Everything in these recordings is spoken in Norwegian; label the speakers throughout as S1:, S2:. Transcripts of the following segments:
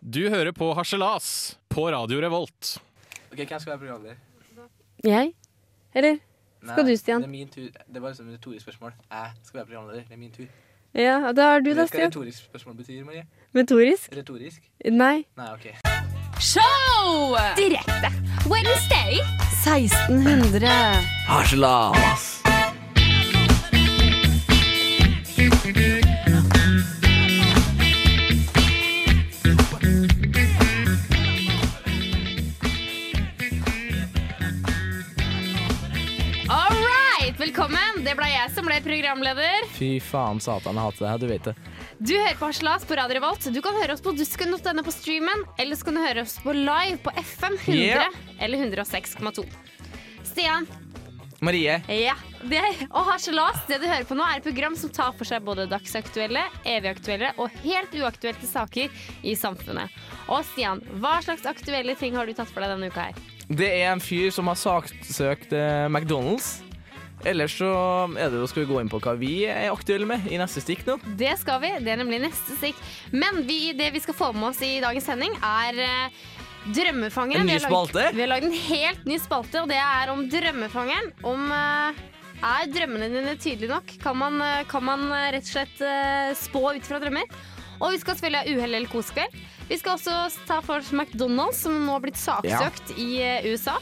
S1: Du hører på Harselas på Radio Revolt.
S2: Ok, Hvem skal være programleder?
S3: Jeg? Eller?
S2: Nei,
S3: Skal du, Stian?
S2: Det er min tur. Det var liksom et retorisk spørsmål. Jeg skal være programleder. Det er min tur.
S3: Ja, da er
S2: Vet
S3: du da,
S2: du hva
S3: Stian.
S2: retorisk spørsmål betyr, Marie?
S3: Metorisk?
S2: Retorisk?
S3: Nei.
S2: Nei, OK.
S4: Show! Direkte. Wednesday.
S3: 1600.
S2: Harselas.
S4: All right, velkommen. Det ble jeg som ble programleder.
S5: Fy faen, satan, jeg hater det her, du vet det.
S4: Du hører på Harselas på Radio Revolt. Du kan høre oss på dusken.no E på streamen, eller så kan du høre oss på live på FM 100
S5: Yeah.
S4: eller 106,2. Stian,
S5: Marie,
S4: ja. Det, og Harselas, det du hører på nå, er et program som tar for seg både dagsaktuelle, evig aktuelle og helt uaktuelle saker i samfunnet. Og Stian, hva slags aktuelle ting har du tatt for deg denne uka her?
S5: det er en fyr som har saksøkt eh, McDonald's. Ellers så er det jo, skal vi gå inn på hva vi er aktuelle med i neste stikk
S3: Mm.
S5: nå.
S4: Det skal vi. Det er nemlig neste stikk. Men vi, det vi skal få med oss i dagens sending, er eh, Drømmefangeren.
S5: En ny
S4: Vi har laget-
S5: spalte?
S4: Vi har lagd en helt ny spalte, og det er om drømmefangeren. Om eh, er drømmene dine tydelige nok? Kan man, eh, kan man eh, rett og slett eh, spå ut fra drømmer? Og vi skal selvfølgelig ha uhell eller kosekveld. Vi skal også ta for oss McDonald's, som nå har blitt saksøkt i eh, USA.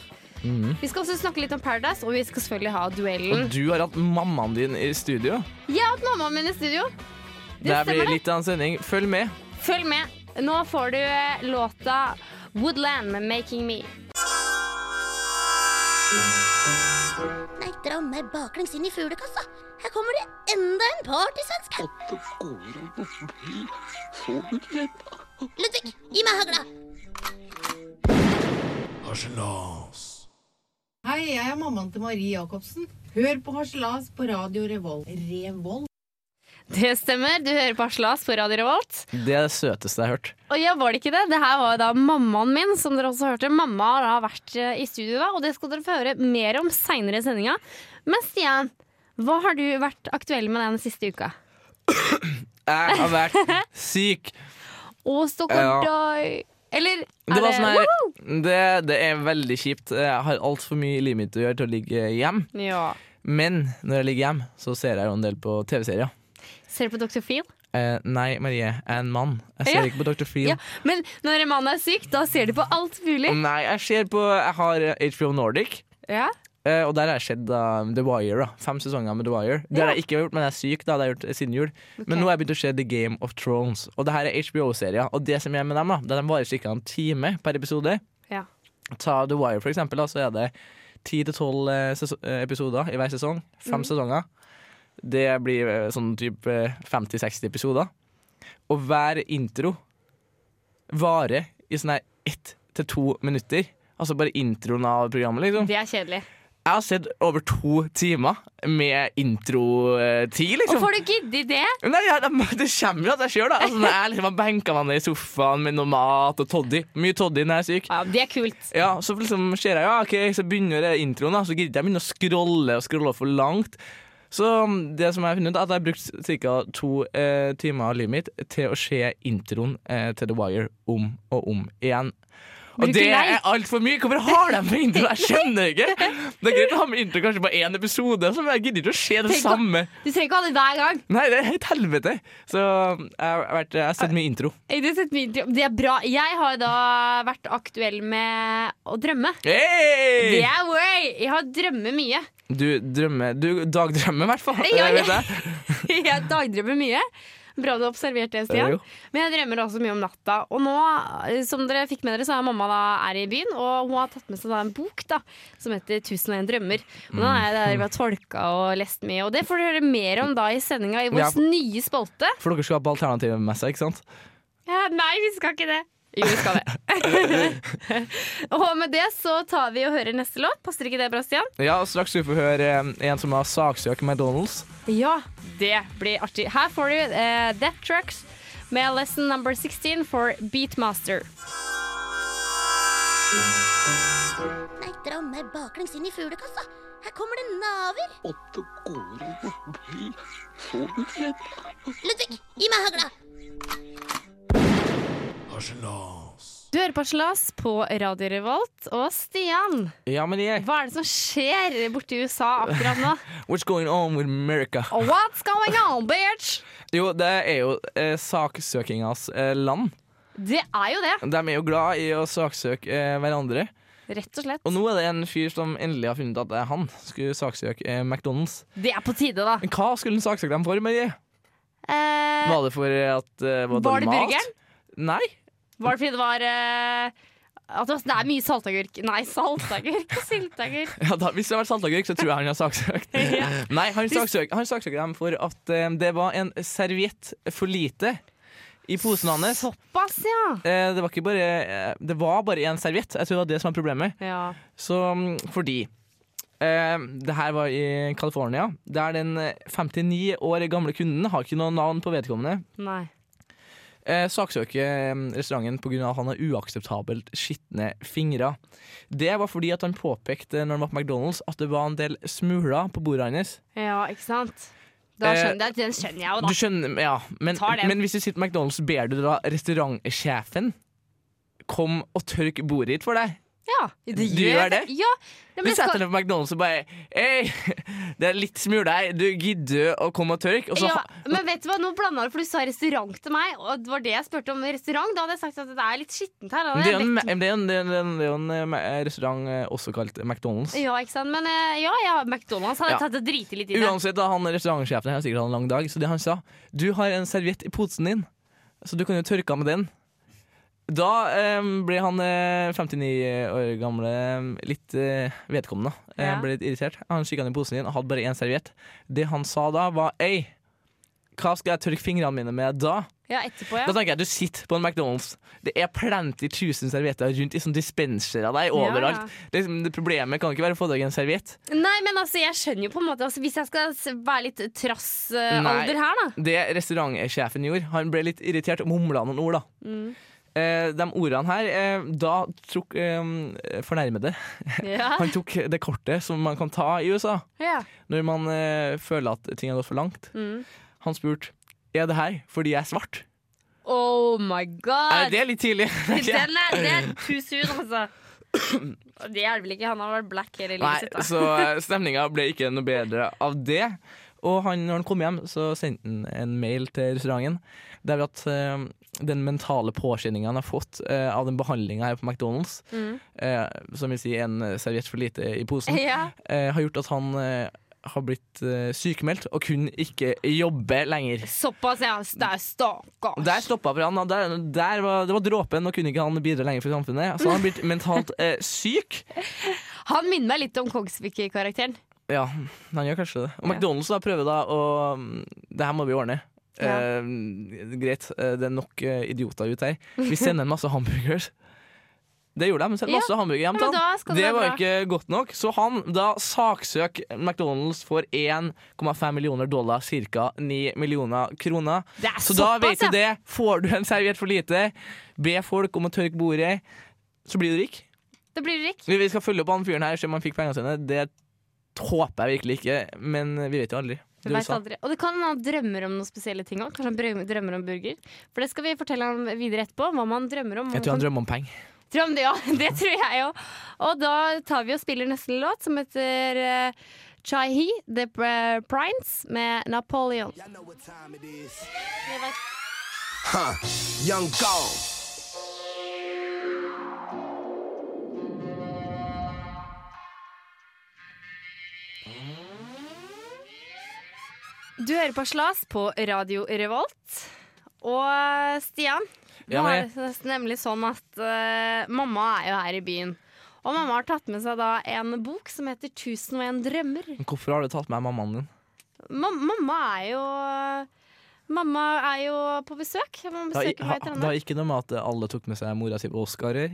S4: Vi skal også snakke litt om Paradise, og vi skal selvfølgelig ha duellen.
S5: Mhm. Og du har hatt mammaen din i studio.
S4: Jeg har hatt mammaen min i studio.
S5: Det her
S4: stemmer
S5: blir
S4: det.
S5: litt av en sending. Følg med.
S4: Følg med. Nå får du eh, låta Woodland med 'Making Me'.
S6: Nei, dra meg baklengs inn i fuglekassa. Her kommer det enda en partysvenske. Ludvig, gi meg hagla.
S7: Hei, jeg er mammaen til Marie Jacobsen. Hør på Harselas på radio Revolt. Revolt?
S4: Det stemmer. Du hører på Aslas på Radio Revolt.
S5: Det er det søteste jeg har hørt.
S4: Og ja, var det ikke det? Det her var jo da mammaen min, som dere også hørte. Mamma har da vært eh, i studio da, og det skal dere få høre mer om seinere i sendinga. Men Stian, hva har du vært aktuell med den siste uka?
S5: Jeg har vært syk.
S4: Å,
S5: Ja.
S4: stakkar deg. Eller er
S5: Det, var sånn her,
S4: Woho!
S5: det, det er veldig kjipt. Jeg har altfor mye i livet mitt å gjøre til å ligge hjem.
S4: Ja.
S5: Men når jeg ligger hjem, så ser jeg jo en del på TV-serier.
S4: Ser du på Dr. Phil?
S5: Eh, nei, Marie, jeg er en mann. Jeg ser
S4: Ja.
S5: ikke på Dr. Phil.
S4: Ja. Men når en mann er syk, da ser du på alt mulig.
S5: Nei, jeg ser på Jeg har eh, HBO Nordic.
S4: Ja.
S5: eh, og der har jeg sett da, The Wire. da Fem sesonger med The Wire. Det har
S4: Ja.
S5: jeg ikke gjort, men jeg er syk. da, Det har jeg gjort eh, siden jul
S4: Ok.
S5: Men nå har jeg begynt å se The Game of Thrones. Og det her er HBO-serier. Og det som er med dem, da det er de varer ca. en time per episode.
S4: Ja.
S5: Ta The Wire, for eksempel, da, så er det ti til tolv eh, episoder i hver sesong. Fem sesonger. Det blir eh, sånn type eh, 50-60 episoder. Og hver intro varer i sånn her ett til to minutter. Altså bare introen av programmet, liksom.
S4: Det er kjedelig.
S5: Jeg har sett over to timer med intro-tid,
S4: Og
S5: liksom.
S4: får du giddet det?
S5: Nei, ja, det, det kommer jo at jeg sjøl, da. Altså, når jeg liksom har benka meg ned i sofaen med noe mat og toddy. Mye toddy når jeg er syk.
S4: Ja, det er kult.
S5: Ja, Så liksom ser jeg ja, ok, så begynner det introen, da. Så gidder jeg begynne å scrolle og scrolle for langt. Så um, det som jeg har funnet ut, er at jeg har brukt ca. to eh, timer av livet mitt til å se introen eh, til The Wire om og om igjen. Og
S4: Bruker
S5: det
S4: lei.
S5: er altfor mye! Hvorfor har de med intro? Jeg skjønner ikke! Det er greit å ha med intro kanskje på én episode, så jeg gidder ikke å se det
S4: Tenk å-
S5: samme.
S4: Du trenger ikke ha det hver gang.
S5: Nei, det er et helvete. Så jeg har, vært, jeg har sett mye intro.
S4: Jeg har sett mye intro- Det er bra. Jeg har da vært aktuell med å drømme. Det
S5: Hey!
S4: er way! Jeg har drømmer mye.
S5: Du drømmer Du dagdrømmer, i hvert fall.
S4: Ja,
S5: Det vet
S4: ja.
S5: jeg.
S4: Jeg dagdrømmer mye. Bra du har observert det, Stian.
S5: Jo.
S4: Men jeg drømmer også mye om natta. Og nå, eh, som dere fikk med dere, så er mamma da er i byen, og hun har tatt med seg da en bok da, som heter 1001 drømmer. Og den er der vi har tolka og lest mye. Og det får dere høre mer om da i sendinga i vår
S5: Ja.
S4: nye spalte.
S5: For dere skal ha på alternativet med seg, ikke sant?
S4: Ja, nei, vi skal ikke det. Jo, vi skal det. og med det så tar vi og hører neste låt. Passer ikke det bra, Stian?
S5: Ja, straks skal vi få høre eh, en som har saksøkt McDonald's.
S4: Ja, det blir artig. Her får du eh, Death Trucks med lesson number 16 for Beatmaster.
S6: Nei, dra meg baklengs inn i fuglekassa. Her kommer det naver. Ludvig, gi meg hagla.
S4: Du hører på Slas på Radio Revolt. Og Stian,
S5: Ja, men jeg
S4: hva er det som skjer borti USA akkurat nå?
S5: What's going on with America?
S4: What's going on, bitch?
S5: Jo, det er jo eh, saksøkingas eh, land.
S4: Det er jo det,
S5: De er jo glad i å saksøke eh, hverandre.
S4: rett og slett.
S5: Og nå er det en fyr som endelig har funnet ut at det er han skulle saksøke eh, McDonald's.
S4: Det er på tide, da.
S5: Men hva skulle han saksøke dem for, Marie?
S4: Eh,
S5: Var det for at eh, Var det,
S4: Var det
S5: mat?
S4: burgeren?
S5: Nei.
S4: var det fordi det var eh, at det var- det er mye saltagurk Nei, saltagurk! Sylteagurk.
S5: Ja, da, hvis det hadde vært saltagurk, så tror jeg han har saksøkt. Nei, han saksøker, han saksøker dem for at eh, det var en serviett for lite i posen hans.
S4: Såpass, ja.
S5: Eh, det var ikke bare eh, Det var bare én serviett. Jeg tror det var det som var problemet.
S4: ja.
S5: Så mm, fordi eh, Det her var i California, der den eh, 59 år gamle kunden har ikke noe navn på vedkommende.
S4: Nei.
S5: Eh, saksøker eh, restauranten pga. at han har uakseptabelt skitne fingre. Det var fordi at han påpekte eh, når han var på McDonald's at det var en del smuler på bordet hans.
S4: Ja, ikke sant? Da
S5: Eh,
S4: skjønner, den skjønner jeg jo, da.
S5: Du skjønner, ja, men,
S4: Tar den.
S5: men hvis du sitter på McDonald's, ber du da restaurantsjefen kom og tørke bordet ditt for deg?
S4: Ja,
S5: Du gjør det?
S4: Ja, ja, men
S5: Du
S4: jeg skal-
S5: setter deg på McDonald's og bare Hei, det er litt smuler her. Du gidder å komme og tørke? Og så
S4: ja, men vet du hva, nå blanda du, for du sa restaurant til meg, og det var det jeg spurte om restaurant. Da hadde jeg sagt at det er litt skittent her. da
S5: Men
S4: hadde
S5: det
S4: jeg
S5: er jo en,
S4: bedt-
S5: det er jo en, det er jo en, det er jo en eh, restaurant eh, også kalt McDonald's.
S4: Ja, ikke sant. Men eh, ja, ja McDonald's hadde
S5: Ja.
S4: jeg tatt det driti litt i det.
S5: Uansett, da, han restaurantsjefen her har sikkert hatt en lang dag, så det han sa Du har en serviett i posen din, så du kan jo tørke av med den. Da eh, ble han eh, 59 år gamle eh, litt eh, vedkommende. Eh,
S4: Ja.
S5: Ble litt irritert. Han kikka ned i posen din og hadde bare én serviett. Det han sa da, var Ei, hva skal jeg tørke fingrene mine med da?
S4: Ja, etterpå,
S5: Da
S4: ja.
S5: tenker jeg, Du sitter på en McDonald's. Det er plenty tusen servietter rundt i sånne dispensere av deg overalt. Det, liksom, det Problemet kan ikke være å få tak i en serviett.
S4: Nei, men altså, jeg skjønner jo på en måte altså, Hvis jeg skal s- være litt trassalder
S5: Nei.
S4: her, da.
S5: Det restaurantsjefen gjorde, han ble litt irritert og mumla noen ord. da.
S4: Mm.
S5: Eh, de ordene her eh, Da tok eh, fornærmede
S4: Ja.
S5: Han tok det kortet som man kan ta i USA
S4: ja.
S5: når man eh, føler at ting har gått for langt.
S4: Mm.
S5: Han spurte er det her fordi jeg er svart.
S4: Oh my
S5: Er
S4: god!
S5: det litt tidlig?
S4: Den er, det er too soon, altså. Og Det hjelper ikke. Han har vært black hele livet sitt.
S5: Nei,
S4: da.
S5: så eh, stemninga ble ikke noe bedre av det. Og han, når han kom hjem, så sendte han en mail til restauranten der at eh, den mentale påkjenninga han har fått eh, av den behandlinga her på McDonald's,
S4: Mm.
S5: eh, som vil si en eh, serviett for lite i posen,
S4: Ja.
S5: eh, har gjort at han eh, har blitt eh, sykemeldt og kunne ikke jobbe lenger.
S4: Såpass, ja. Så Det er
S5: Og
S4: stakkars.
S5: Der stoppa for han, og der, der var, det var dråpen, og kunne ikke han bidra lenger for samfunnet. Så han har blitt mentalt eh, syk.
S4: Han minner meg litt om Kongsviker-karakteren.
S5: Ja, han gjør kanskje det. Og McDonald's da prøver da å mm, Det her må vi ordne.
S4: Ja.
S5: Eh, greit, eh, det er nok eh, idioter ute her. Vi sender en masse hamburgers. Det gjorde de. de. Sendte
S4: Ja.
S5: masse hamburgere hjem
S4: Ja, men
S5: til
S4: da
S5: han.
S4: skal det
S5: Det
S4: være
S5: var
S4: bra.
S5: ikke godt nok. Så han da saksøker McDonald's for 1,5 millioner dollar, ca. 9 millioner kroner.
S4: Det er
S5: Så da
S4: såpass,
S5: vet du
S4: ja.
S5: det. Får du en serviett for lite, be folk om å tørke bordet, så blir du rik.
S4: Da blir du rik.
S5: Vi vi skal følge opp han fyren her, se om han fikk pengene sine. Det håper jeg virkelig ikke, men vi vet jo aldri.
S4: Du vet aldri. Og det kan hende han drømmer om noen spesielle ting òg. Kanskje han drøm- drømmer om burger. For det skal vi fortelle ham videre etterpå. Hva man drømmer om.
S5: Jeg tror han drømmer om penger.
S4: Tror han det, ja. Det tror jeg òg. Og da tar vi og spiller neste låt, som heter eh, Chai He, The Pr- Prince, med Napoleon.
S8: Young Gold.
S4: Du hører på Slas på Radio Revolt. Og eh, Stian, nå
S5: Ja, men
S4: er det nemlig sånn at eh, mamma er jo her i byen. Og mamma har tatt med seg da en bok som heter 1001 drømmer.
S5: Men Hvorfor har du tatt med mammaen din?
S4: Ma mamma er jo Mamma er jo på besøk. Mamma
S5: Det har i-
S4: besøker
S5: ha- det
S4: meg i
S5: har
S4: Trondheim.
S5: ikke noe med at alle tok med seg mora si på Oscarer.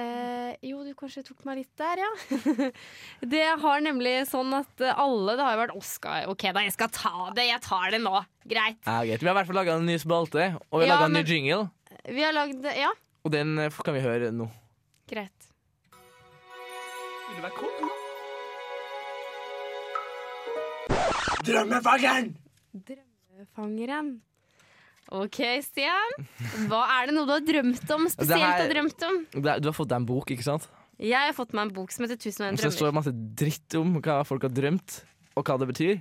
S4: Eh, jo, du kanskje tok meg litt der, ja. det har nemlig sånn at eh, alle Det har jo vært Oscar. OK, da, jeg skal ta det. Jeg tar det nå. Greit.
S5: Ja, greit. Vi har i hvert fall laga en ny spalte, og vi har
S4: Ja,
S5: laget en
S4: men-
S5: ny jingle.
S4: Vi har lagd Ja,
S5: Og den eh, kan vi høre nå.
S4: greit.
S8: Drømmefangeren!
S4: Drømmefangeren. OK, Stian. Hva er det noe du har drømt om?
S5: Altså, Det
S4: Spesielt
S5: her-
S4: har drømt om?
S5: Det er- Du har fått deg en bok, ikke sant?
S4: Jeg har fått meg en bok som heter 1001
S5: Så det står
S4: drømmer.
S5: masse dritt om hva folk har drømt, og hva det betyr.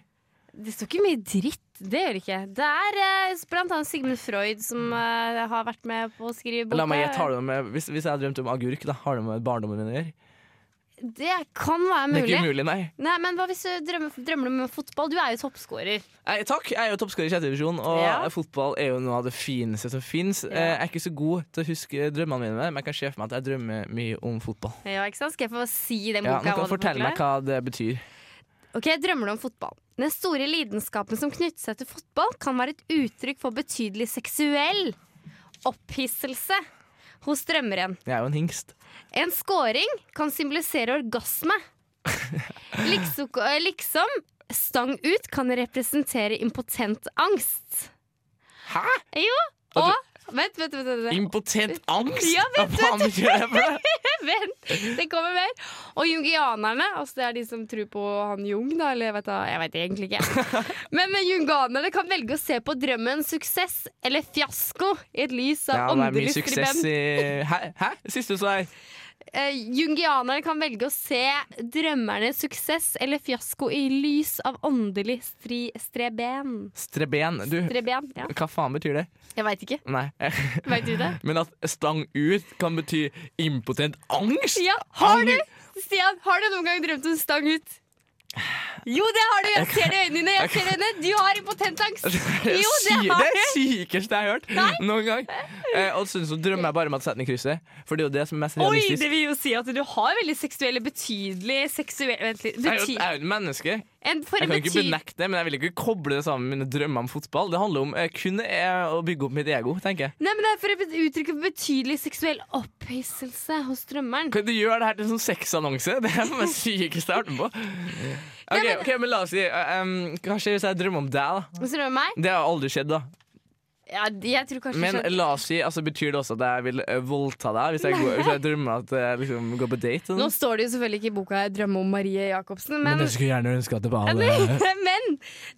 S4: Det står ikke mye dritt. Det gjør det ikke. Det er eh, blant annet Sigmund Freud som eh, har vært med på å skrive boka.
S5: La meg gjette, har det med Hvis, hvis jeg har drømt om agurk, da har det med barndommen min å gjøre?
S4: Det kan være
S5: Det er
S4: mulig.
S5: ikke umulig, nei.
S4: Nei, men Hva hvis du drømmer, drømmer om fotball? Du er jo toppskårer.
S5: Nei, takk, jeg er jo toppskårer i sjette divisjon, og
S4: Ja.
S5: fotball er jo noe av det fineste som fins. Jeg er ikke så god til å huske drømmene mine, men jeg kan se for meg at jeg drømmer mye om fotball.
S4: Ja, ikke sant? Skal jeg få si den
S5: Ja, nå
S4: boka?
S5: kan du
S4: hva det
S5: fortelle meg
S4: forklarer?
S5: hva det betyr.
S4: Ok, drømmer du om fotball? Den store lidenskapen som knytter seg til fotball, kan være et uttrykk for betydelig seksuell opphisselse hos drømmeren.
S5: Jeg er jo en hingst.
S4: En scoring kan symbolisere orgasme. Liksom, liksom stang ut kan representere impotent angst.
S5: Hæ?
S4: Jo, og Vent, vent, vent. vent, vent.
S5: Impotent angst?
S4: Ja,
S5: Hva faen betyr det for deg?
S4: vent. Det kommer mer. Og jungianerne, altså det er de som tror på han Jung, da, eller jeg vet, da- jeg vet egentlig ikke. Men junganerne kan velge å se på drømmen suksess eller fiasko i et lys
S5: Ja,
S4: av
S5: det er mye
S4: åndelig
S5: suksess
S4: skribent.
S5: i Hæ? Hæ? Siste du så her?
S4: Eh, jungianerne kan velge å se drømmernes suksess eller fiasko i lys av åndelig stri, streben.
S5: Streben. Du,
S4: Streben, ja.
S5: hva faen betyr det?
S4: Jeg veit ikke.
S5: Nei.
S4: Veit du det?
S5: Men at stang ut kan bety impotent angst?
S4: Ja, har du? Stian, har du noen gang drømt om stang ut? Jo, det har du! Jeg ser det i øynene dine. Jeg ser det i øynene. Du har impotent angst. Jo, det
S5: Sy-
S4: har
S5: det
S4: du.
S5: er sykeste jeg har hørt noen gang. Eh, og så så drømmer jeg bare om at setter den i krysset, for det er jo det som er mest
S4: Oi,
S5: realistisk.
S4: det vil jo si at du har veldig seksuelle, betydelig seksuelle Vent litt.
S5: jeg, er jo,
S4: Bety
S5: jeg er jo et menneske.
S4: en for
S5: Jeg
S4: en
S5: kan ikke
S4: bety
S5: benekte det, men jeg vil ikke koble det sammen med mine drømmer om fotball. Det handler om eh, kun eh, å bygge opp mitt ego, tenker jeg.
S4: Nei, men det er for å uttrykke betydelig seksuell opphisselse hos drømmeren.
S5: Kan du gjøre det her til en sånn sexannonse? Det er det sykeste jeg har vært med på. Ok, ok, men la oss si eh, um, Hva skjer hvis jeg drømmer om deg, da?
S4: Hvis du drømmer meg?
S5: Det har aldri skjedd, da.
S4: Ja, jeg tror kanskje
S5: Men
S4: skjønner.
S5: la oss si, altså, betyr det også at jeg vil eh, voldta deg hvis jeg, går, hvis jeg drømmer at jeg liksom, går på date?
S4: Nå står det jo selvfølgelig ikke i boka 'Drømme om Marie Jacobsen',
S5: Men
S4: men
S5: jeg skulle gjerne ønske at det var
S4: men,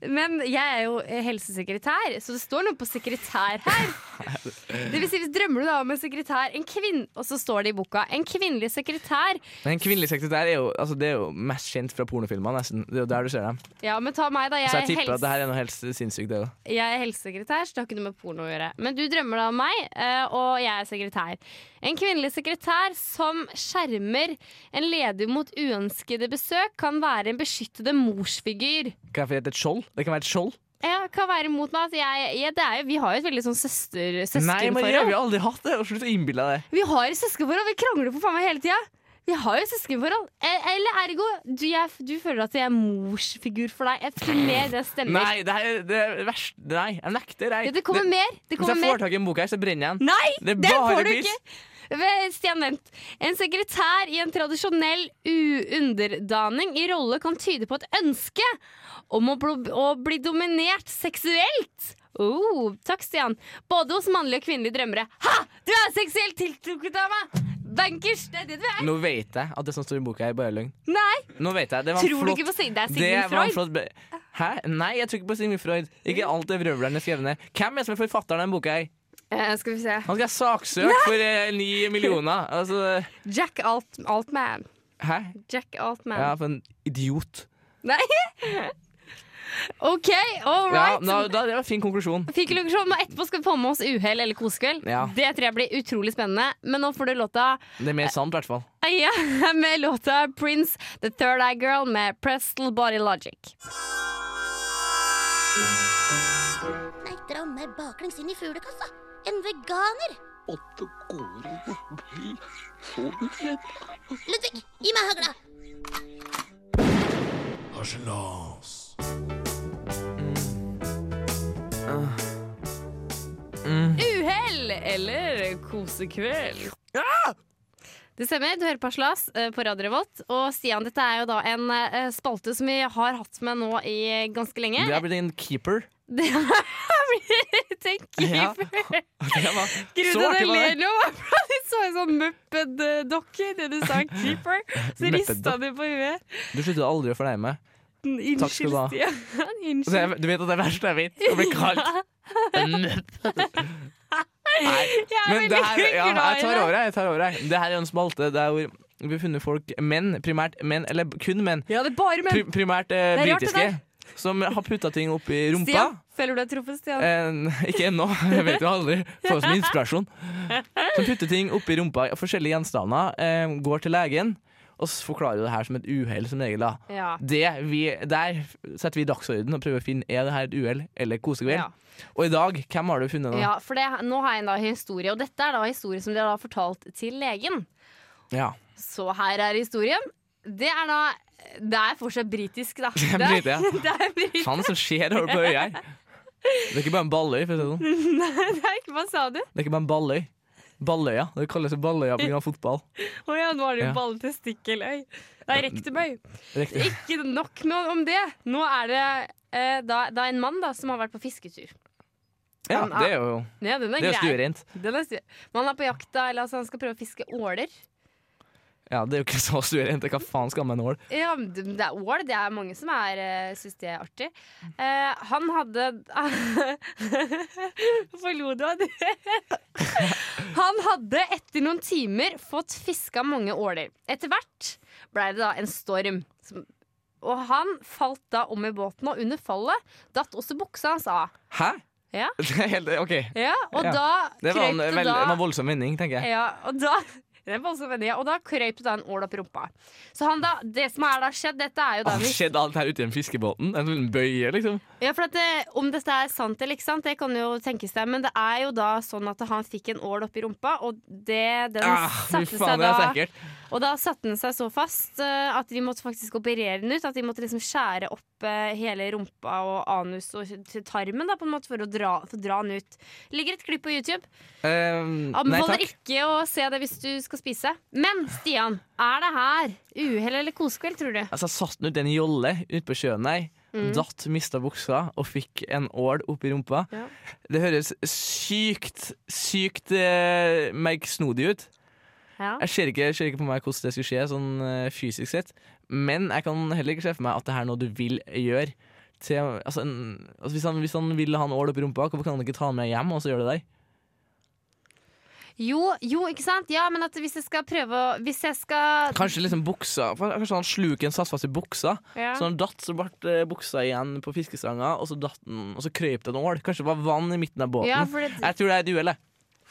S4: men jeg er jo helsesekretær, så det står noe på sekretær her. Det vil si, hvis drømmer du da om en sekretær, en kvinn, og så står det i boka, en kvinnelig sekretær.
S5: Men kvinnelig sekretær er jo, altså, det er jo mest kjent fra pornofilmer, nesten. Det er jo der du ser dem.
S4: Ja, men ta meg da, jeg
S5: Så jeg
S4: er,
S5: tipper at det
S4: helse,
S5: her er noe helt sinnssykt. Det, da.
S4: jeg er helsesekretær, så det har ikke noe med porno å gjøre. Men du drømmer da om meg, eh, og jeg er sekretær. En kvinnelig sekretær som skjermer en ledig mot uønskede besøk, kan være en beskyttede morsfigur.
S5: Kan jeg få gjette et skjold? Det kan være et skjold.
S4: Ja, kan være imot meg. Altså, jeg, jeg, det er jo, vi har jo et veldig sånn søster,
S5: Nei,
S4: søskenforhold.
S5: Maria, vi har aldri hatt det! Og Slutt å innbille deg det.
S4: Vi har jo søskenforhold, vi krangler for faen meg hele tida. Vi har jo søskenforhold. Eh, Eller ergo, du, jeg, du føler at jeg er morsfigur for deg. Jeg tror mer det stemmer.
S5: Nei, det her er det verste. Nei, jeg nekter. Jeg.
S4: Ja, det kommer mer. Det
S5: Hvis
S4: kommer
S5: jeg får
S4: mer.
S5: tak i en bok her, så brenner jeg den.
S4: Nei,
S5: Det er
S4: den
S5: bare
S4: får du
S5: piss.
S4: ikke! Ve- Stian, vent. En sekretær i en tradisjonell uunderdaning i rolle kan tyde på et ønske om å, bl å bli dominert seksuelt. Oh, takk, Stian. Både hos mannlige og kvinnelige drømmere. Ha! Du er seksuelt tiltrukket av meg! Bankers, det er det du er.
S5: Nå vet jeg at det som står i boka, er bare løgn.
S4: Nei!
S5: Nå vet jeg, det var en
S4: Tror du
S5: flott.
S4: ikke på Sigmund- det er
S5: det
S4: Sigmund
S5: var en
S4: Freud?
S5: flott be- Hæ? Nei, jeg tror ikke på Sigmund Freud. Ikke alt det vrøvleren har skrevet ned. Hvem er det som er forfatteren av den boka? her?
S4: Eh, skal vi se.
S5: Han skal ha saksøkt for eh, ni millioner. Altså,
S4: Jack Alt Altman.
S5: hæ?
S4: Jack Altman.
S5: Ja, for en idiot.
S4: Nei! OK, all
S5: Ja,
S4: right.
S5: da, da, det var en fin konklusjon.
S4: Fikk illustrasjon, og etterpå skal vi få med oss uhell eller kosekveld.
S5: Ja.
S4: Det tror jeg blir utrolig spennende. Men nå får du låta
S5: Det er mer sant, i hvert fall.
S4: Eia med låta Prince The Third Eye Girl med Prestel Body Logic.
S6: Nei, dra meg baklengs inn i fuglekassa. En veganer.
S8: Åtte går ikke forbi. Så du
S6: Ludvig, gi meg hagla.
S8: Harselas.
S4: Uhell eller kosekveld. Det stemmer. Du hører på Slas eh, på Radio Revolt. Og Stian, dette er jo da en eh, spalte som vi har hatt med nå i ganske lenge.
S5: Det har blitt en keeper.
S4: Det blir tenker jeg.
S5: Ja. Det var
S4: Grunnen
S5: så
S4: til at
S5: artig
S4: jeg
S5: var det.
S4: ler nå, var fordi du så en sånn muppet-dokke idet du sa keeper. Så
S5: Muppet
S4: rista
S5: Duck.
S4: du på huet.
S5: Du slutter aldri å fornærme.
S3: liten
S5: Takk skal
S3: unnskyld,
S5: du ha.
S3: Stian.
S5: Så
S3: Unnskyld.
S5: jeg, du vet at det er verst jeg vet, å bli kalt en nøtt. Nei,
S3: Jeg er
S5: men det her,
S3: veldig
S5: ja,
S3: glad
S5: jeg
S3: i
S5: tar
S3: det.
S5: over, jeg. jeg tar over jeg. Det her er jo en spalte der hvor vi har funnet folk, menn, primært menn, eller kun menn,
S3: Ja, det er bare menn.
S5: pri primært eh,
S3: Det er rart, det
S5: britiske, som har putta ting opp i rumpa.
S3: Stian, føler du deg truffet, Stian?
S5: Eh, ikke ennå, jeg vet jo aldri. Får det som inspirasjon. Som putter ting oppi rumpa, forskjellige gjenstander, eh, går til legen, og s- forklarer det her som et uhell, som regel. da.
S4: Ja.
S5: Det vi, der setter vi dagsorden og prøver å finne er det her et uhell eller kosekveld.
S4: Ja.
S5: Og i dag, hvem har du funnet nå?
S4: ja, for det, nå har jeg en da historie, og dette er da historie som de har da fortalt til legen.
S5: Ja.
S4: Så her er historien. Det er da Det er fortsatt britisk, da.
S5: er brit, ja.
S4: det er brit-
S5: Faen, som skjer over på øya her? Det er ikke bare en balløy, for å si det sånn.
S4: det er ikke, hva sa du?
S5: Det er ikke bare en balløy. Balløya. Det kalles balløya pga. fotball.
S4: Å ja, nå har du
S5: Ja.
S4: balletestikkeløy. Det er rektumøy.
S5: Riktig.
S4: Ikke nok med om det. Nå er det eh, da, da en mann da, som har vært på fisketur.
S5: Ja, det er jo
S4: Ja, den
S5: det
S4: er
S5: er jo
S4: grei.
S5: stuerent.
S4: Den er stu- Man er på jakt, da, eller altså, han skal prøve å fiske åler.
S5: Ja, det er jo ikke så stuerent. Hva faen skal man med en ål?
S4: Ja, men det det er ål. Det er mange som er, eh, syns det er artig. Eh, han hadde Hvorfor lo du av det? han hadde etter noen timer fått fiska mange åler. Etter hvert blei det da en storm. som- Og han falt da om i båten, og under fallet datt også buksa hans av.
S5: Hæ?
S4: Ja.
S5: Det er helt, ok,
S4: Ja, og
S5: Ja.
S4: da
S5: det var en,
S4: krøp det
S5: veld,
S4: da
S5: en voldsom vending, tenker jeg.
S4: ja, og da det er voldsomt, ja, og da krøp det da en ål opp rumpa. Så han da, det som er da skjedd, dette er jo da
S5: Har det
S4: vi-
S5: skjedd alt her ute i den fiskebåten? En liten bøye, liksom?
S4: Ja, for at det, Om dette er sant eller ikke sant, det kan jo tenkes det. Men det er jo da sånn at han fikk en ål oppi rumpa, og det, den
S5: Ah, fy
S4: satte
S5: faen,
S4: seg
S5: det er
S4: da
S5: sikkert.
S4: Og da satte den seg så fast eh, at de måtte faktisk operere den ut. At de måtte liksom skjære opp eh, hele rumpa og anus og til tarmen da, på en måte for å dra, for å dra den ut. Ligger et klipp på YouTube.
S5: Ehm, nei
S4: Anbefaler
S5: takk.
S4: ikke å se det hvis du skal spise. Men Stian, er det her uhell eller kosekveld, tror du?
S5: Altså, jeg satt den ut i en jolle ute på sjøen der.
S4: Mm.
S5: Datt, mista buksa og fikk en ål oppi rumpa.
S4: Ja.
S5: Det høres sykt, sykt eh, merksnodig ut.
S4: Ja.
S5: Jeg ser ikke, ser ikke på meg hvordan det skulle skje sånn eh, fysisk sett. Men jeg kan heller ikke se for meg at det her er noe du vil gjøre. Til, altså, en, altså hvis, han, hvis han vil ha en ål oppi rumpa, hvorfor kan han ikke ta den med hjem og så gjøre det der?
S4: Jo, jo, ikke sant? Ja, men at hvis jeg skal prøve å Hvis jeg skal
S5: Kanskje liksom buksa for Kanskje han sluken satt fast i buksa.
S4: Ja.
S5: Så han datt, så ble eh, buksa igjen på fiskestanga, og så datt den, og så krøyp det en ål. Kanskje det var vann i midten av båten.
S4: Ja, for det-
S5: Jeg tror det er et uhell. jeg.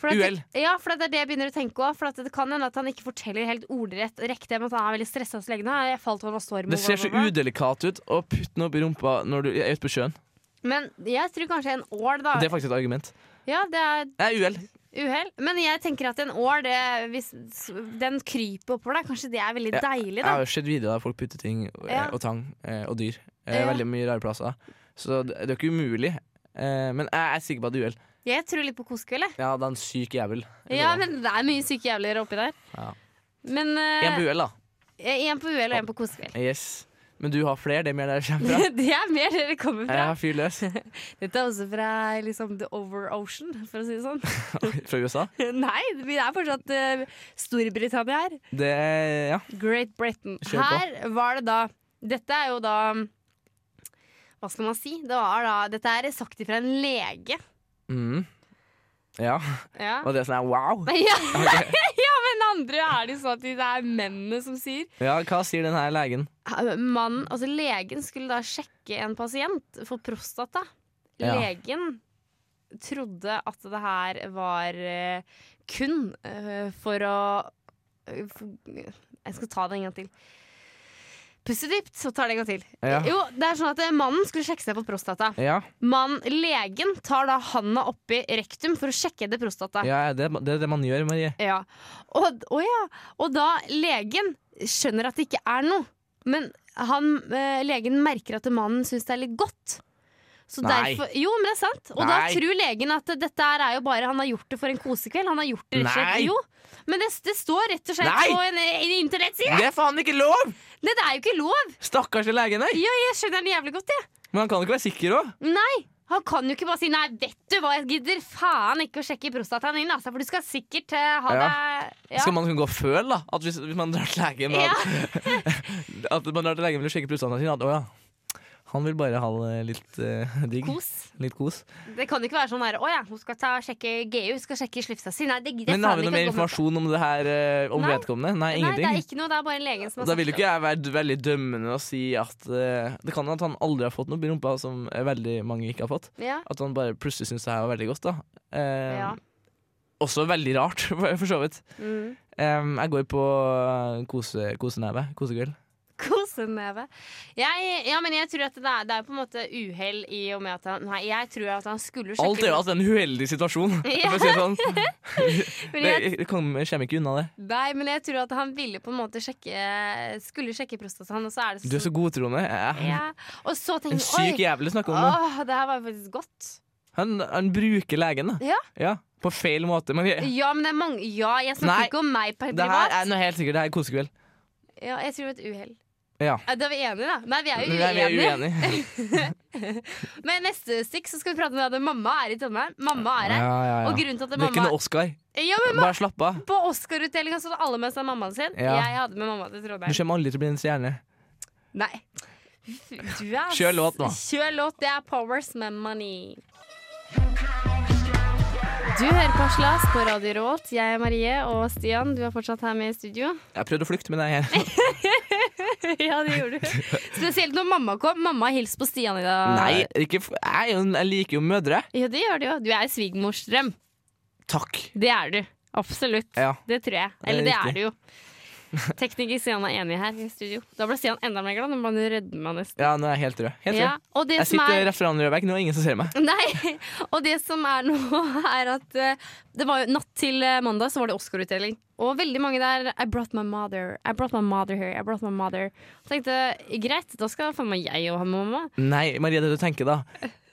S4: for at-
S5: uhell.
S4: Ja, for det er det jeg begynner å tenke òg. For at det kan hende at han ikke forteller helt ordrett rekk det med at han er veldig stressa hos legen. Nei, Jeg falt over en storm.
S5: Det
S4: og
S5: ser
S4: bla,
S5: så
S4: bla, bla.
S5: udelikat ut å putte den opp i rumpa når du er ute på sjøen.
S4: Men jeg tror kanskje en ål, da.
S5: Det er faktisk et argument.
S4: Ja, det er
S5: Nei, uhell.
S4: uhell. Men jeg tenker at en ål, det- hvis den kryper oppover deg, kanskje det er veldig
S5: Ja,
S4: deilig,
S5: Jeg har jo
S4: da.
S5: sett videoer der folk putter ting eh,
S4: Ja.
S5: og tang eh, og dyr. Eh,
S4: Ja.
S5: Veldig mye rare plasser. Så det det er ikke umulig. Eh, Men jeg er sikker på at det er uhell.
S4: Jeg tror litt på kosekveld, jeg.
S5: Ja, det er en syk jævel.
S4: Ja, men det er mye syke jævler oppi der.
S5: Ja.
S4: Men eh,
S5: En på uhell, da.
S4: en på uhell og en på kosekveld.
S5: Yes. Men du har flere, det er mer der det kommer fra.
S4: det er mer det det kommer
S5: Jeg
S4: fra.
S5: har fyr løs.
S4: Dette er også fra liksom, The Over Ocean, for å si det sånn.
S5: Fra USA.
S4: Nei, vi er fortsatt eh, Storbritannia her.
S5: Det er ja.
S4: Great Britain.
S5: Kjør på.
S4: Her var det da Dette er jo da Hva skal man si? Det var da, dette er sagt ifra en lege.
S5: Mm. Ja.
S4: Ja.
S5: Og det er sånn her, wow.
S4: Ja, ja, men andre er det jo sånn at det er mennene som sier
S5: Ja, hva sier den her legen?
S4: Mannen, altså legen skulle da sjekke en pasient for prostata.
S5: Ja.
S4: Legen trodde at det her var eh, kun eh, for å eh, for, Jeg skal ta det en gang til. Puste dypt, så tar det en gang til.
S5: Ja.
S4: Jo, det er sånn at eh, Mannen skulle sjekke seg på prostata.
S5: Ja,
S4: Mann, legen tar da handa oppi rektum for å sjekke det prostata.
S5: ja det, er- det er det man gjør, Marie.
S4: Ja. Og, å ja. og da legen skjønner at det ikke er noe, men han, eh, legen merker at mannen syns det er litt godt. Så
S5: Nei.
S4: derfor, jo, men det er sant. Og da
S5: Nei.
S4: tror legen at dette her er jo bare han har gjort det for en kosekveld. Han har gjort det rett og slett.
S5: Nei.
S4: Jo, men det, det står rett og slett
S5: Nei.
S4: på en, en internettside!
S5: Det er faen ikke lov!
S4: Nei, det er jo ikke lov!
S5: Stakkars legen der.
S4: Ja, jeg skjønner det jævlig godt, jeg.
S5: Men han kan ikke være sikker òg.
S4: Nei! Han kan jo ikke bare si 'nei, vet du hva, jeg gidder faen ikke å sjekke prostataen din', altså, for du skal sikkert eh, ha
S5: Ja.
S4: deg ja.
S5: Skal man kunne gå og føle da, at hvis, hvis man drar til legen med at, at man drar til legen for å sjekke prostataen sin at, å, ja. Han vil bare ha det litt eh, digg.
S4: Kos.
S5: Litt kos.
S4: Det kan ikke være sånn der, å ja, hun skal ta, sjekke GU, hun skal sjekke slipsa si. Nei, det gidder jeg
S5: Men har vi
S4: faen
S5: noe
S4: ikke
S5: mer
S4: å gå med på.
S5: informasjon om det her eh, om
S4: Nei.
S5: vedkommende? Nei,
S4: Nei, det er
S5: ingenting.
S4: ikke noe, det er bare legen som har
S5: Da vil jo
S4: sagt
S5: ikke jeg være d- veldig dømmende og si at eh, Det kan hende at han aldri har fått noe i rumpa som eh, veldig mange ikke har fått.
S4: det. Ja.
S5: At han bare plutselig syns det her var veldig godt. da Eh,
S4: Ja.
S5: Også veldig rart, for for så vidt.
S4: Mm.
S5: Em, jeg går på eh, kose, koseneve. Kosegirl.
S4: Koseneve. Jeg, ja, men jeg tror at det er, det er på en måte uhell i og med at han Nei, jeg tror at han skulle sjekke
S5: Alt er jo altså en uheldig situasjon.
S4: Ja.
S5: For å si det sånn.
S4: men
S5: Det,
S4: jeg,
S5: jeg kommer jeg kommer ikke unna det.
S4: Nei, men jeg tror at han ville på en måte sjekke Skulle sjekke prostataen, og så er det sånn,
S5: Du er så godtroende. Eh,
S4: ja. Og så tenker
S5: En
S4: jeg,
S5: syk jævel å snakke
S4: Oi, Ah.
S5: om. da.
S4: åh, det her var faktisk godt.
S5: Han, han bruker legen, da.
S4: Ja.
S5: på feil måte. Men jeg,
S4: Ja, men det er mange Ja, jeg snakker
S5: Nei,
S4: ikke om meg per-
S5: det her
S4: privat.
S5: er noe helt sikkert. Det her er kosekveld.
S4: Ja, jeg tror det var et uhell.
S5: Ja.
S4: Da er vi enige, da. Nei, vi er jo
S5: Nei, vi er
S4: uenige.
S5: uenige.
S4: Men neste stikk så skal vi prate om det. Mamma er i Trondheim. Mamma er
S5: Ja,
S4: her.
S5: ja, ja.
S4: Og grunnen til at
S5: Det er ikke
S4: mamma
S5: noe Oscar.
S4: Ja, men
S5: Bare slapp av.
S4: På Oscar-utdelinga så hadde alle med seg mammaen sin.
S5: Ja.
S4: Jeg hadde med mamma til
S5: Du
S4: Trondheim.
S5: kommer aldri til å bli en stjerne.
S4: Nei. Du er
S5: Kjør låt nå.
S4: Kjør låt. Det er Powers med Money. Du hører på Slas på Radio Revolt. Jeg er Marie, og Stian, du er fortsatt her med i studio.
S5: Jeg prøvde å flykte med deg her.
S4: ja, det gjorde du. Spesielt når mamma kom. Mamma har hilst på Stian i dag.
S5: Nei, ikke, f- jeg, er jo en- jeg liker jo mødre.
S4: Ja, det gjør du jo. Du er svigermors drøm.
S5: Takk.
S4: Det er du. Absolutt.
S5: Ja.
S4: Det tror jeg.
S5: er
S4: Eller det er
S5: riktig.
S4: du jo. Tekniker Stian er enig her i studio. Da ble Stian enda mer glad. Nå ble han redd meg nesten.
S5: Ja, nå er jeg helt rød. Helt
S4: Ja,
S5: rød.
S4: og det
S5: Jeg
S4: som
S5: sitter
S4: er
S5: rett foran rød vegg, nå er det ingen som ser meg.
S4: Nei, og det som er nå, er at eh, det var jo natt til eh, mandag så var det Oscar-utdeling. Og veldig mange der I brought my mother. I brought my mother here. I brought my mother. Og tenkte greit, da skal faen meg jeg og ha med mamma.
S5: Nei, Maria, det du tenker da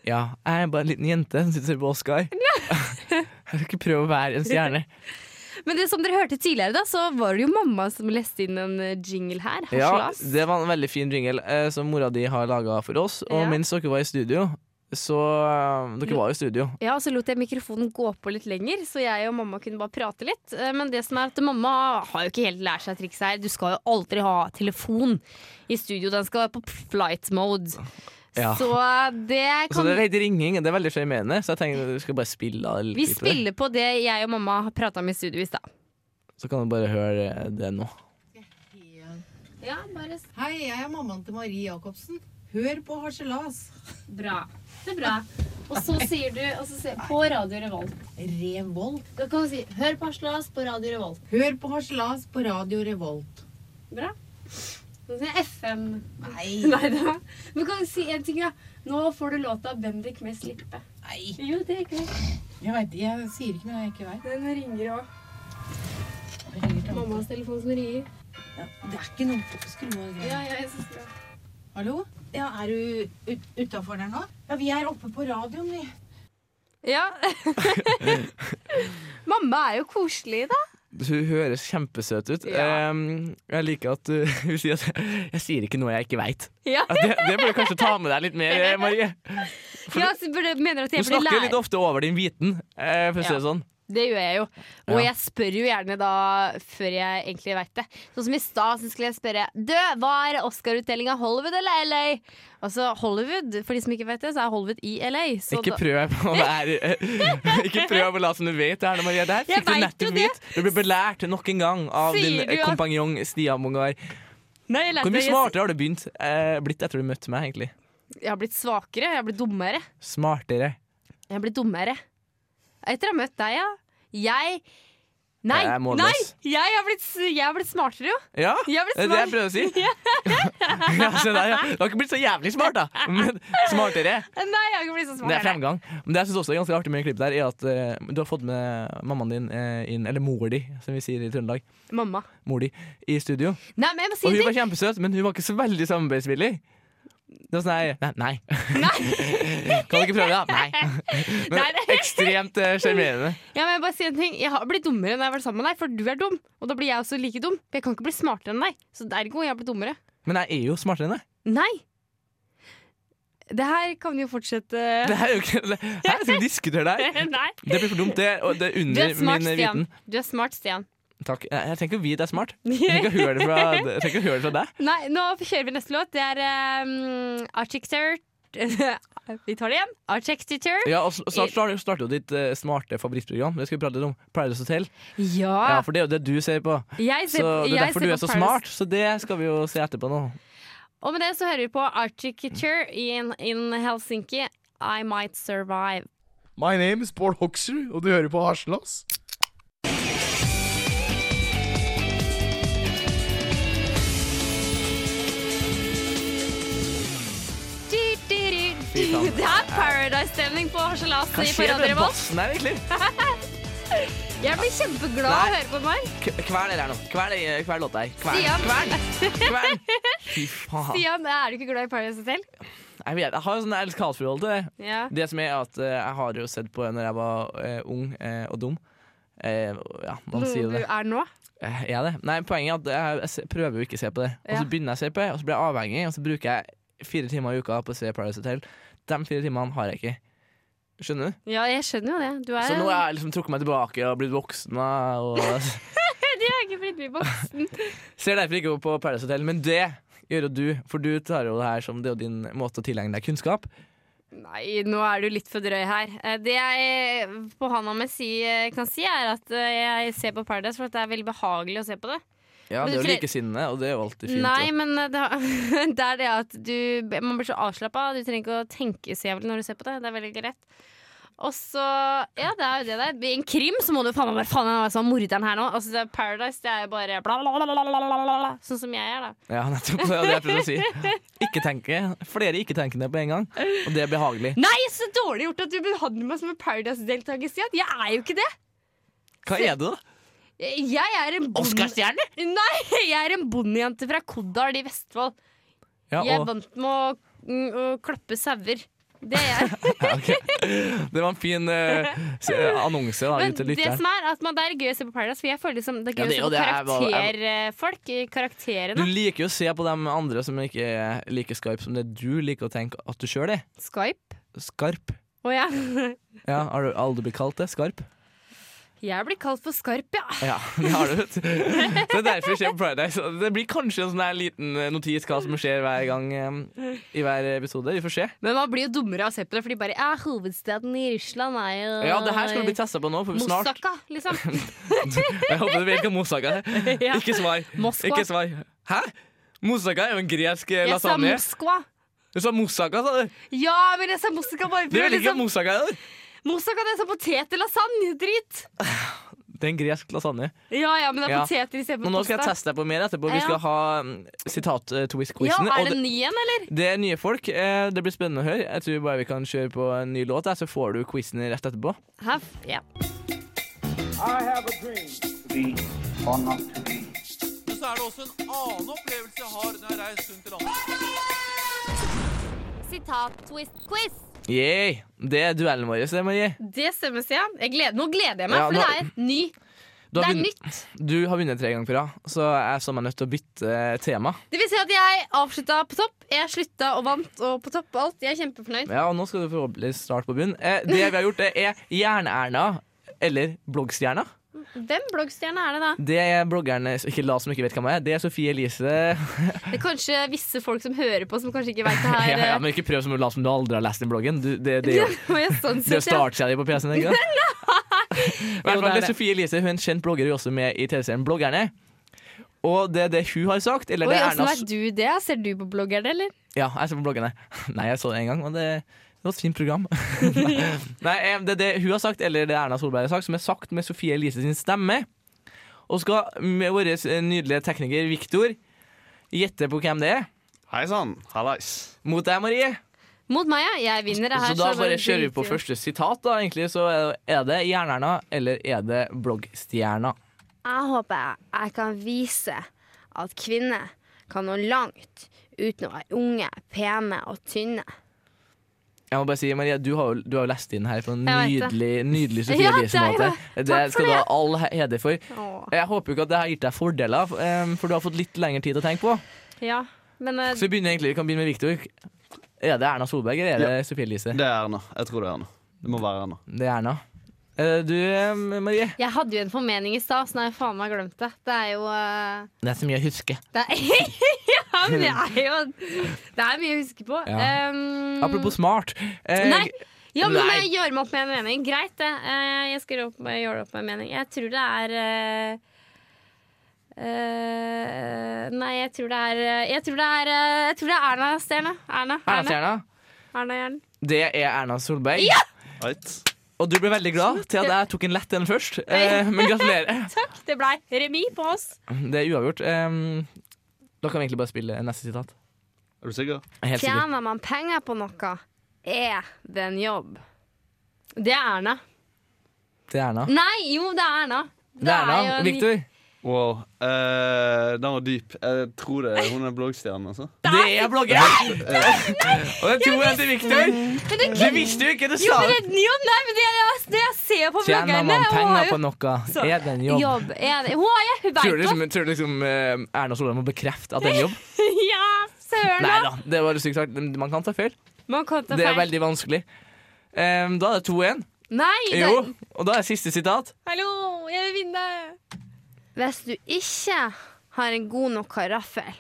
S5: Ja, jeg er bare en liten jente som sitter og ser på Oscar. Jeg skal ikke prøve å være en stjerne.
S4: Men det som dere hørte tidligere, da, så var det jo mamma som leste inn en eh, jingle her.
S5: Ja,
S4: Haslas.
S5: det var en veldig fin jingle eh, som mora di har laga for oss. Og
S4: Ja.
S5: mens dere var i studio, så eh, Dere var jo i studio.
S4: Ja, og så lot jeg mikrofonen gå på litt lenger, så jeg og mamma kunne bare prate litt. Eh, Men det som er at mamma har jo ikke helt lært seg trikset her. Du skal jo aldri ha telefon i studio. Den skal være på flight mode.
S5: Ja.
S4: Så eh, det
S5: Så
S4: kan
S5: det er litt ringing. Det er veldig sjarmerende, så jeg tenker vi skal bare spille av litt
S4: Vi
S5: på det.
S4: spiller på det jeg og mamma har prata om i studio i stad.
S5: Så kan du bare høre eh, det nå.
S4: Ja, bare
S7: Hei, jeg er mammaen til Marie Jacobsen. Hør på harselas.
S4: bra. Det er bra. Og så sier du på Radio Revolt.
S7: Revolt.
S4: Da kan du si 'Hør på Aslas på Radio Revolt'.
S7: Hør på harselas på Radio Revolt.
S4: Bra. Nå sier jeg FM. Nei. da. Men kan du si en ting, da? Nå får du låta 'Bendik med slippe'. Nei. Jo, det er greit.
S7: Jeg veit jeg sier ikke noe jeg ikke veit.
S4: Den ringer òg. Mammas telefon som ringer.
S7: Det er ikke noe skru av greier.
S4: Ja, ja, jeg synes det.
S7: Hallo? Ja, er du ut, utafor der nå? Ja, vi er oppe på radioen, vi.
S4: Ja. Mamma er jo koselig, da.
S5: Hun høres kjempesøt ut.
S4: Ja.
S5: Em, jeg liker at uh, hun sier at 'jeg sier ikke noe jeg ikke veit'.
S4: Ja,
S5: Det, det bør du kanskje ta med deg litt mer, eh, Marie.
S4: ja så burde, mener at
S5: Du
S4: jeg burde
S5: snakker jo litt
S4: lære
S5: ofte over din viten, eh, for å si det
S4: Ja.
S5: sånn.
S4: Det gjør jeg jo. Og
S5: Ja.
S4: jeg spør jo gjerne da før jeg egentlig veit det. Sånn som i stad så skulle jeg spørre Du, hva er Oscar-utdelinga? Hollywood eller LA? Altså Hollywood, for de som ikke vet det, så er Hollywood i LA. Så
S5: Ikke
S4: da-
S5: prøv å være Ikke prøv å late som du vet det her, Maria. Det her
S4: Jeg
S5: fikk du
S4: vet jo
S5: nettopp vite. Du ble belært nok en gang av
S4: Sier
S5: din
S4: du
S5: eh,
S4: at-
S5: kompanjong Stian Mongar.
S4: Nei, jeg,
S5: Hvor
S4: lærte,
S5: mye
S4: jeg,
S5: smartere har du begynt eh, blitt etter du møtte meg, egentlig?
S4: jeg har blitt svakere, jeg har blitt dummere.
S5: Smartere.
S4: Jeg har blitt dummere. Etter å ha møtt deg, ja. Jeg Nei,
S5: Jeg er målløs.
S4: nei! Jeg har blitt, s- jeg har blitt smartere, jo.
S5: Ja,
S4: Jeg
S5: det er
S4: har blitt
S5: det jeg
S4: smart.
S5: prøver å si. ja, se der, ja. Du har ikke blitt så jævlig smart, da. Men smartere.
S4: Nei, jeg har ikke blitt så
S5: Det er
S4: smart.
S5: fremgang. Men det jeg synes også er ganske artig med klippet der, er at eh, du har fått med mammaen din eh, inn, eller mor di, som vi sier i Trøndelag,
S4: Mamma.
S5: mor di, i studio.
S4: Nei, men jeg må si
S5: Og
S4: en
S5: hun
S4: ting.
S5: var kjempesøt, men hun var ikke så veldig samarbeidsvillig. Det var sånn her, Nei. nei. kan du ikke prøve det? da? Nei.
S4: Nei,
S5: Men
S4: det-
S5: ekstremt eh, sjarmerende.
S4: Ja, men Jeg bare sier en ting Jeg har blitt dummere når jeg har vært sammen med deg, for du er dum. Og da blir jeg også like dum. For jeg kan ikke bli smartere enn deg. Så ergo jeg har blitt dummere.
S5: men jeg er jo smartere enn deg.
S4: Nei! Det her kan jo fortsette
S5: Det her er jo ikke det- Her skal vi diskutere det her.
S4: Nei.
S5: Det blir for dumt, det. Og det er
S4: Du
S5: under
S4: er smart,
S5: min eh,
S4: Stian.
S5: viten.
S4: Du er smart, Stian.
S5: Takk. Jeg, jeg tenker vi det er smart. Jeg tenker å høre det fra, jeg trenger ikke å høre det fra deg.
S4: Nei, nå kjører vi neste låt. Det er um, Archicter Vi tar det igjen. Archicter.
S5: Ja, og sn- Snart starter, starter jo ditt eh, smarte favorittprogram. Det skal vi prate litt om. Paradise Hotel. Ja,
S4: Ja.
S5: For det er jo det du ser på.
S4: Ah. Jeg
S5: Så
S4: ser,
S5: Det er
S4: jeg
S5: derfor du
S4: ser på
S5: er så
S4: Paradise.
S5: smart. Så det skal vi jo se etterpå nå.
S4: Og med det så hører vi på Archicter in, in Helsinki. I might survive.
S9: My name is Bård Hoksrud, og du hører på Harselas.
S4: Du, du, du, du. Det er Paradise-stemning på harselas
S5: Hva
S4: i
S5: skjer med
S4: Parader
S5: den bassen her, egentlig?
S4: Jeg blir kjempeglad av å
S5: Nei.
S4: høre på meg.
S5: K- Kvern det her nå. Kvern eh, kvern låta her. Kvern.
S4: Stian,
S5: Kvern. Fy faen.
S4: Stian, er du ikke glad i Paradise Hotel?
S5: Jeg, vet, jeg har jo sånn elsk forhold til det.
S4: Ja.
S5: Det som er at eh, Jeg har jo sett på det når jeg var eh, ung eh, og dum. Eh, ja, man
S4: Noe
S5: sier jo
S4: du
S5: det.
S4: er nå?
S5: Eh, Er det? Nei, Poenget er at jeg, jeg se- prøver jo ikke å se på det. Og
S4: Ja.
S5: så begynner jeg å se på det, og så blir jeg avhengig, og så bruker jeg fire timer i uka på å se Paradise Hotel. De fire timene har jeg ikke. Skjønner du?
S4: Ja, jeg skjønner jo det. Du er,
S5: Så nå har jeg liksom trukket meg tilbake og blitt voksen. da, Og
S4: Jeg er ikke blitt voksen.
S5: ser derfor ikke på Paradise Hotel, men det gjør jo du. For du tar jo det her som det er jo din måte å tilegne deg kunnskap.
S4: Nei, nå er du litt for drøy her. Eh, Det jeg på handa mi si, kan si, er at eh, jeg ser på Paradise for at det er veldig behagelig å se på det.
S5: Ja,
S4: Men
S5: Det er jo
S4: du tre-
S5: likesinnede, og det er jo alltid fint.
S4: Nei,
S5: og-
S4: men eh, det, har- det er det at du Man blir så avslappa. Du trenger ikke å tenke så jævlig når du ser på det. Det er veldig greit. Og så Ja, det er jo det der. I en krim så må du faen meg være faen, jeg er sånn morderen her nå. Altså, det er Paradise det er jo bare bla, bla, bla, bla, bla, bla, bla, bla, sånn som jeg er, da.
S5: Ja, nettopp. Det var det jeg prøvde å si. Ikke tenke. Flere ikke-tenkende på en gang. Og det er behagelig.
S4: Nei, så dårlig gjort at du behandler meg som en Paradise-deltaker, Stian. Jeg er jo ikke det.
S5: Hva er du, da?
S4: Jeg er en bond- Nei, jeg er en bondejente fra Kodal i Vestfold.
S5: Ja,
S4: Jeg er
S5: og,
S4: vant med å, mm, å klappe sauer. Det er jeg.
S5: ja, ok. Det var en fin eh, s- annonse da,
S4: Men
S5: ut til
S4: det
S5: lytteren.
S4: som er at man, det er gøy å se på Paradise, for jeg føler liksom, det er
S5: Ja,
S4: gøy
S5: det-
S4: å
S5: og
S4: se
S5: det
S4: på
S5: er hva- jeg-
S4: karakterfolk i
S5: Du
S4: karakterene.
S5: liker jo å se på de andre som ikke er like skarpe som det du liker å tenke at du sjøl er.
S4: Skype.
S5: Skarp.
S4: Å ja.
S5: Ja, Har du aldri blitt kalt det? Skarp?
S4: Jeg blir kalt for Skarp, ja.
S5: Ja, det har du. vet du. Det er derfor jeg ser på Paradise. Og Det blir kanskje en sånn her liten notis hva som skjer hver gang eh, i hver episode. Vi får se.
S4: Men man blir jo dummere av å se på det, fordi bare ja, hovedstaden i Russland er jo
S5: Ja, det her skal du bli testa på nå, for snart
S4: Mosaka, liksom.
S5: Jeg håper du vet hva moussaka er.
S4: Ja.
S5: Ikke svar.
S4: Moskva.
S5: Ikke svar. Hæ? Moussaka er jo en gresk eh,
S4: Jeg sa
S5: lasagne.
S4: Moskva.
S5: Du sa moussaka, sa du.
S4: Ja, men jeg sa moussaka bare
S5: Det er
S4: for å
S5: vel ikke
S4: liksom
S5: moussaka der?
S4: Moussaka, det er sånn potetlasagne. Drit.
S5: Det er en gresk lasagne.
S4: Ja ja, men det er
S5: Ja.
S4: poteter istedenfor
S5: Men nå skal jeg teste deg på mer etterpå. Vi
S4: Ja.
S5: skal ha mm, sitat-twist-quizen.
S4: Ja,
S5: og
S4: er det ny en, eller?
S5: det, det er nye folk. Eh, Det blir spennende å høre. Jeg tror bare vi kan kjøre på en ny låt, jeg, så får du quizen rett etterpå.
S4: Hæ? Ja.
S6: Sitat-twist-quiz.
S5: Yeah. Det er duellen vår, det, Marie.
S4: Det stemmer, Stian. Jeg gleder, nå gleder jeg meg,
S5: Ja,
S4: for
S5: nå-
S4: det er ny.
S5: Du
S4: Det
S5: har,
S4: er
S5: vunnet,
S4: nytt.
S5: du har vunnet tre ganger på rad, så jeg så meg nødt til å bytte eh, tema.
S4: Det vil si at jeg avslutta på topp. Jeg slutta og vant og på topp og alt. Jeg er kjempefornøyd.
S5: Ja, og nå skal du forhåpentligvis starte på bunn. Eh, det vi har gjort, det er Jern-Erna, eller Bloggstjerna.
S4: Hvem bloggstjerne er det, da?
S5: Det er bloggerne Ikke la som ikke vet hvem jeg er. Det er Sofie Elise.
S4: Det er kanskje visse folk som hører på, som kanskje ikke veit det her.
S5: ja, ja, men ikke prøv som å la som du aldri har lest den bloggen. Du, det, det, er jo-
S4: Må jeg sånn
S5: det er jo
S4: sett, ja.
S5: startserie på PC-en, ikke sant? I hvert
S4: Jo,
S5: fall
S4: det er
S5: det er
S4: det.
S5: Sofie Elise, hun er en kjent blogger, hun er også med i TV-serien Bloggerne. Og det er det hun har sagt, eller
S4: Oi,
S5: det er
S4: åssen
S5: Erna
S4: vet du det? Ser du på bloggerne, eller?
S5: Ja, jeg så på bloggene. Nei, jeg så det en gang, og det, det var et fint program. Nei, eh, det, det hun har sagt, eller det Erna Solberg har sagt, som er sagt med Sofie Elise sin stemme. Og skal med vår eh, nydelige tekniker Viktor gjette på hvem det er.
S9: Hei sann, hallais.
S5: Mot deg, Marie.
S4: Mot meg, ja. Jeg vinner det
S5: Så
S4: her.
S5: da
S4: det
S5: bare
S4: driter
S5: kjører vi på
S4: i det.
S5: første sitat, da, egentlig. Så er det Jern-Erna, eller er det Bloggstjerna?
S4: Jeg håper jeg kan vise at kvinner kan nå langt uten å være unge, pene og tynne.
S5: Jeg må bare si, Marie, du har jo, du har jo lest inn her på en
S4: Jeg vet det.
S5: nydelig, nydelig Sofie
S4: Ja, det er jo
S5: Elise-måte.
S4: det.
S5: Det
S4: Takk for
S5: skal du
S4: det.
S5: ha all he- heder for.
S4: Åh.
S5: Jeg håper jo ikke at det har gitt deg fordeler, eh, for du har fått litt lengre tid til å tenke på.
S4: Ja, men eh,
S5: Så vi begynner egentlig, vi kan begynne med Viktor. Er det Erna Solberg eller er det Sofie Elise?
S9: Det er Erna. Jeg tror det er Erna. Det må være Erna.
S5: Det er Erna. Eh, Du, eh, Marie.
S4: Jeg hadde jo en formening i stad, så nå har jeg faen meg glemt det. Det er jo eh,
S5: Det er så mye å huske.
S4: det er, Ja, men det er jo Det er mye å huske på.
S5: Ja.
S4: Ehm,
S5: Apropos smart. eh,
S4: Nei! Ja, men
S5: Mm. Nei.
S4: jeg gjør meg opp med en mening. Greit, det. Eh, Jeg skal gjøre opp- gjøre opp med en mening. Jeg tror det er eh, eh, Nei, jeg tror det er eh, Jeg tror det er, eh, jeg tror det er Erna Stjerna. Erna.
S5: Erna
S4: Erna.
S5: Stjerna,
S4: Erna Jern.
S5: det er Erna Solberg.
S10: Right.
S5: Og du ble veldig glad til at jeg tok en lett en først. Eh, Men gratulerer.
S4: Takk, det blei remis på oss.
S5: Det er uavgjort. Eh, Da kan vi egentlig bare spille neste sitat.
S10: Er du sikker?
S5: Jeg er Helt sikker.
S4: Tjener man penger på noe, er det en jobb. Det er Erna.
S5: Det er Erna.
S4: Nei, jo, det er Erna.
S5: Det Mm, er
S4: jo
S5: Erna.
S4: en-
S5: Victor.
S10: Wow. Eh, den var dyp. Jeg tror det hun er bloggstjerne, altså.
S5: Det er blogger! Og det tror jeg til Victor.
S4: Men det
S5: Du visste jo ikke det
S4: Jo,
S5: sa
S4: men det, jo, nei, men det, jeg, det jeg ser på
S5: Tjener
S4: bloggerne
S5: man
S4: og har
S5: penger
S4: jo-
S5: på noe,
S4: Så-
S5: er det en
S4: jobb.
S5: jobb?
S4: er det. Hun, jeg, hun
S5: Tror du
S4: vet
S5: liksom, tror du liksom eh, Erna Solberg må bekrefte at det er en jobb?
S4: det. Ja, søren
S5: Nei
S4: da.
S5: da, det var sykt sagt. Man kan ta feil.
S4: Man kan ta
S5: Det er
S4: feil.
S5: veldig vanskelig. Eh, da er det 2-1.
S4: Nei, det,
S5: Jo, og da er siste sitat.
S4: hallo, jeg vil vinne. Hvis du ikke har en god nok karaffel,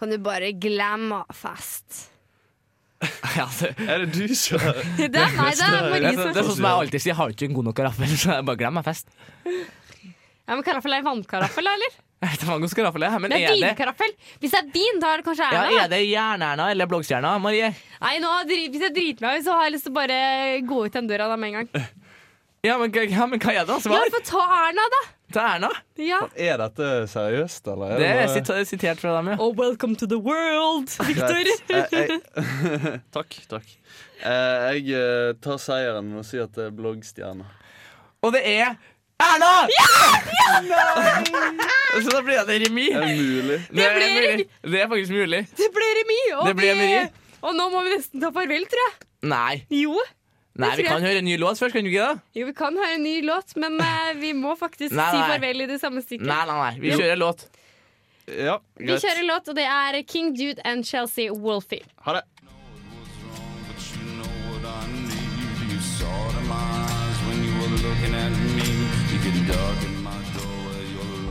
S4: kan du bare glemme fest.
S5: Ja, det,
S10: Er det du som
S4: Det, er- nei, det er
S5: det,
S4: Marie
S5: det,
S4: som
S5: er sånn som jeg alltid sier. Jeg har ikke en god nok karaffel, så jeg bare glemmer fest.
S4: Ja, men Karaffel er en vannkaraffel, da, eller?
S5: Jeg vet ikke hva god karaffel er, men
S4: Det er
S5: er det,
S4: vinkaraffel. Hvis det er vin, da er det kanskje
S5: ja,
S4: Erna. da.
S5: er det Jern-Erna eller Bloggstjerna, Marie?
S4: Nei, nå, dri- Hvis jeg driter meg ut, så har jeg lyst til å bare gå ut den døra da med en gang.
S5: Ja, men, hva- ja, men hva er det?
S4: Ja,
S5: Svar
S4: Få ta Erna, da.
S5: til Erna.
S4: Ja.
S10: Er dette seriøst, eller?
S5: Det er
S10: bare-
S5: sita- sitert fra dem, ja.
S4: Oh, welcome to the world,
S10: Greit. Jeg- jeg- takk. takk. Eh, jeg eh, tar seieren med å si at det er bloggstjerne.
S5: Og det er Erna! Nei! Så da blir det remis.
S10: Er det mulig?
S5: Det er,
S4: blir
S5: mulig. det er faktisk mulig.
S4: Det ble remis. Og,
S5: Det ble
S4: vi-
S5: remis.
S4: og nå må vi nesten ta farvel, tror jeg.
S5: Nei.
S4: Jo,
S5: Nei, vi kan høre en ny låt først, kan du ikke det?
S4: jo vi kan ha en ny låt, men eh, vi må faktisk
S5: Nei,
S4: si
S5: nei.
S4: farvel i det samme stykket.
S5: Nei, nei, nei. Vi kjører låt.
S10: Ja,
S4: Vi
S10: greit.
S4: kjører låt, og det er King Dude and Chelsea Wolfie.
S10: Ha det.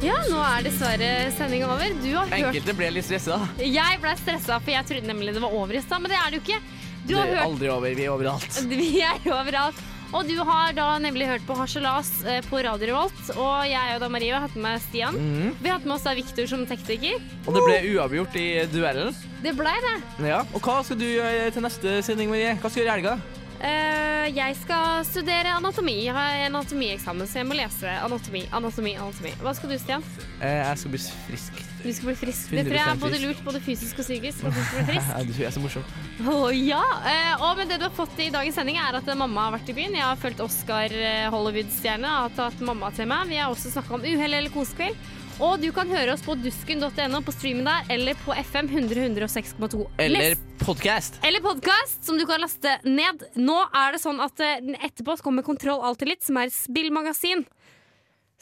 S4: Ja, nå er dessverre sendinga over. Du har hørt
S5: Enkelte ble litt stressa.
S4: Jeg ble stressa, for jeg trodde nemlig det var over i stad, men det er det jo ikke. Du
S5: Det
S4: har
S5: er
S4: hørt
S5: aldri over. Vi er overalt.
S4: Vi er overalt. Og du har da nemlig hørt på Harselas eh, på Radio Revolt. Og jeg og da Marie har hatt med Stian.
S5: Mhm.
S4: Vi har hatt med oss da Victor som tekniker.
S5: Og det ble uavgjort i duellen.
S4: Det blei det.
S5: Ja. Og hva skal du gjøre til neste sending, Marie? Hva skal du gjøre i helga?
S4: Eh, jeg skal studere anatomi. Jeg har anatomieksamen, så jeg må lese anatomi, anatomi, anatomi. Hva skal du, Stian?
S5: Eh, Jeg skal bli frisk.
S4: Du skal bli frisk. Det tror jeg er
S5: 100%
S4: både
S5: frisk.
S4: lurt, både fysisk og psykisk. At du skal bli frisk.
S5: Ja, Du er så morsom.
S4: Å ja! Eh, og men det du har fått i dagens sending, er at eh, mamma har vært i byen. Jeg har fulgt Oscar eh, Hollywood-stjerne og har tatt mamma til meg. Vi har også snakka om uhell eller kosekveld. Og du kan høre oss på dusken.no på streamen der, eller på FM 100 106,2.
S5: Eller
S4: Les-
S5: podkast.
S4: eller podkast, som du kan laste ned. Nå er det sånn at eh, etterpå så kommer Kontroll alltid litt, som er et spillmagasin.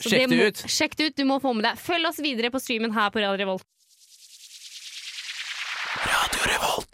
S4: Så
S5: Sjekk det
S4: må-
S5: ut.
S4: Sjekk det ut, du må få med deg. Følg oss videre på streamen her på Radio Revolt.
S5: Radio Revolt.